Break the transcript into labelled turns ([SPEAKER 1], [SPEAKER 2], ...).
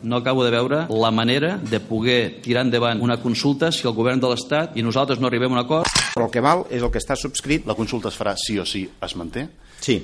[SPEAKER 1] No acabo de veure la manera de poder tirar endavant una consulta si el govern de l'Estat i nosaltres no arribem a un acord.
[SPEAKER 2] Però el que val és el que està subscrit.
[SPEAKER 3] La consulta es farà sí o sí, es manté?
[SPEAKER 2] Sí.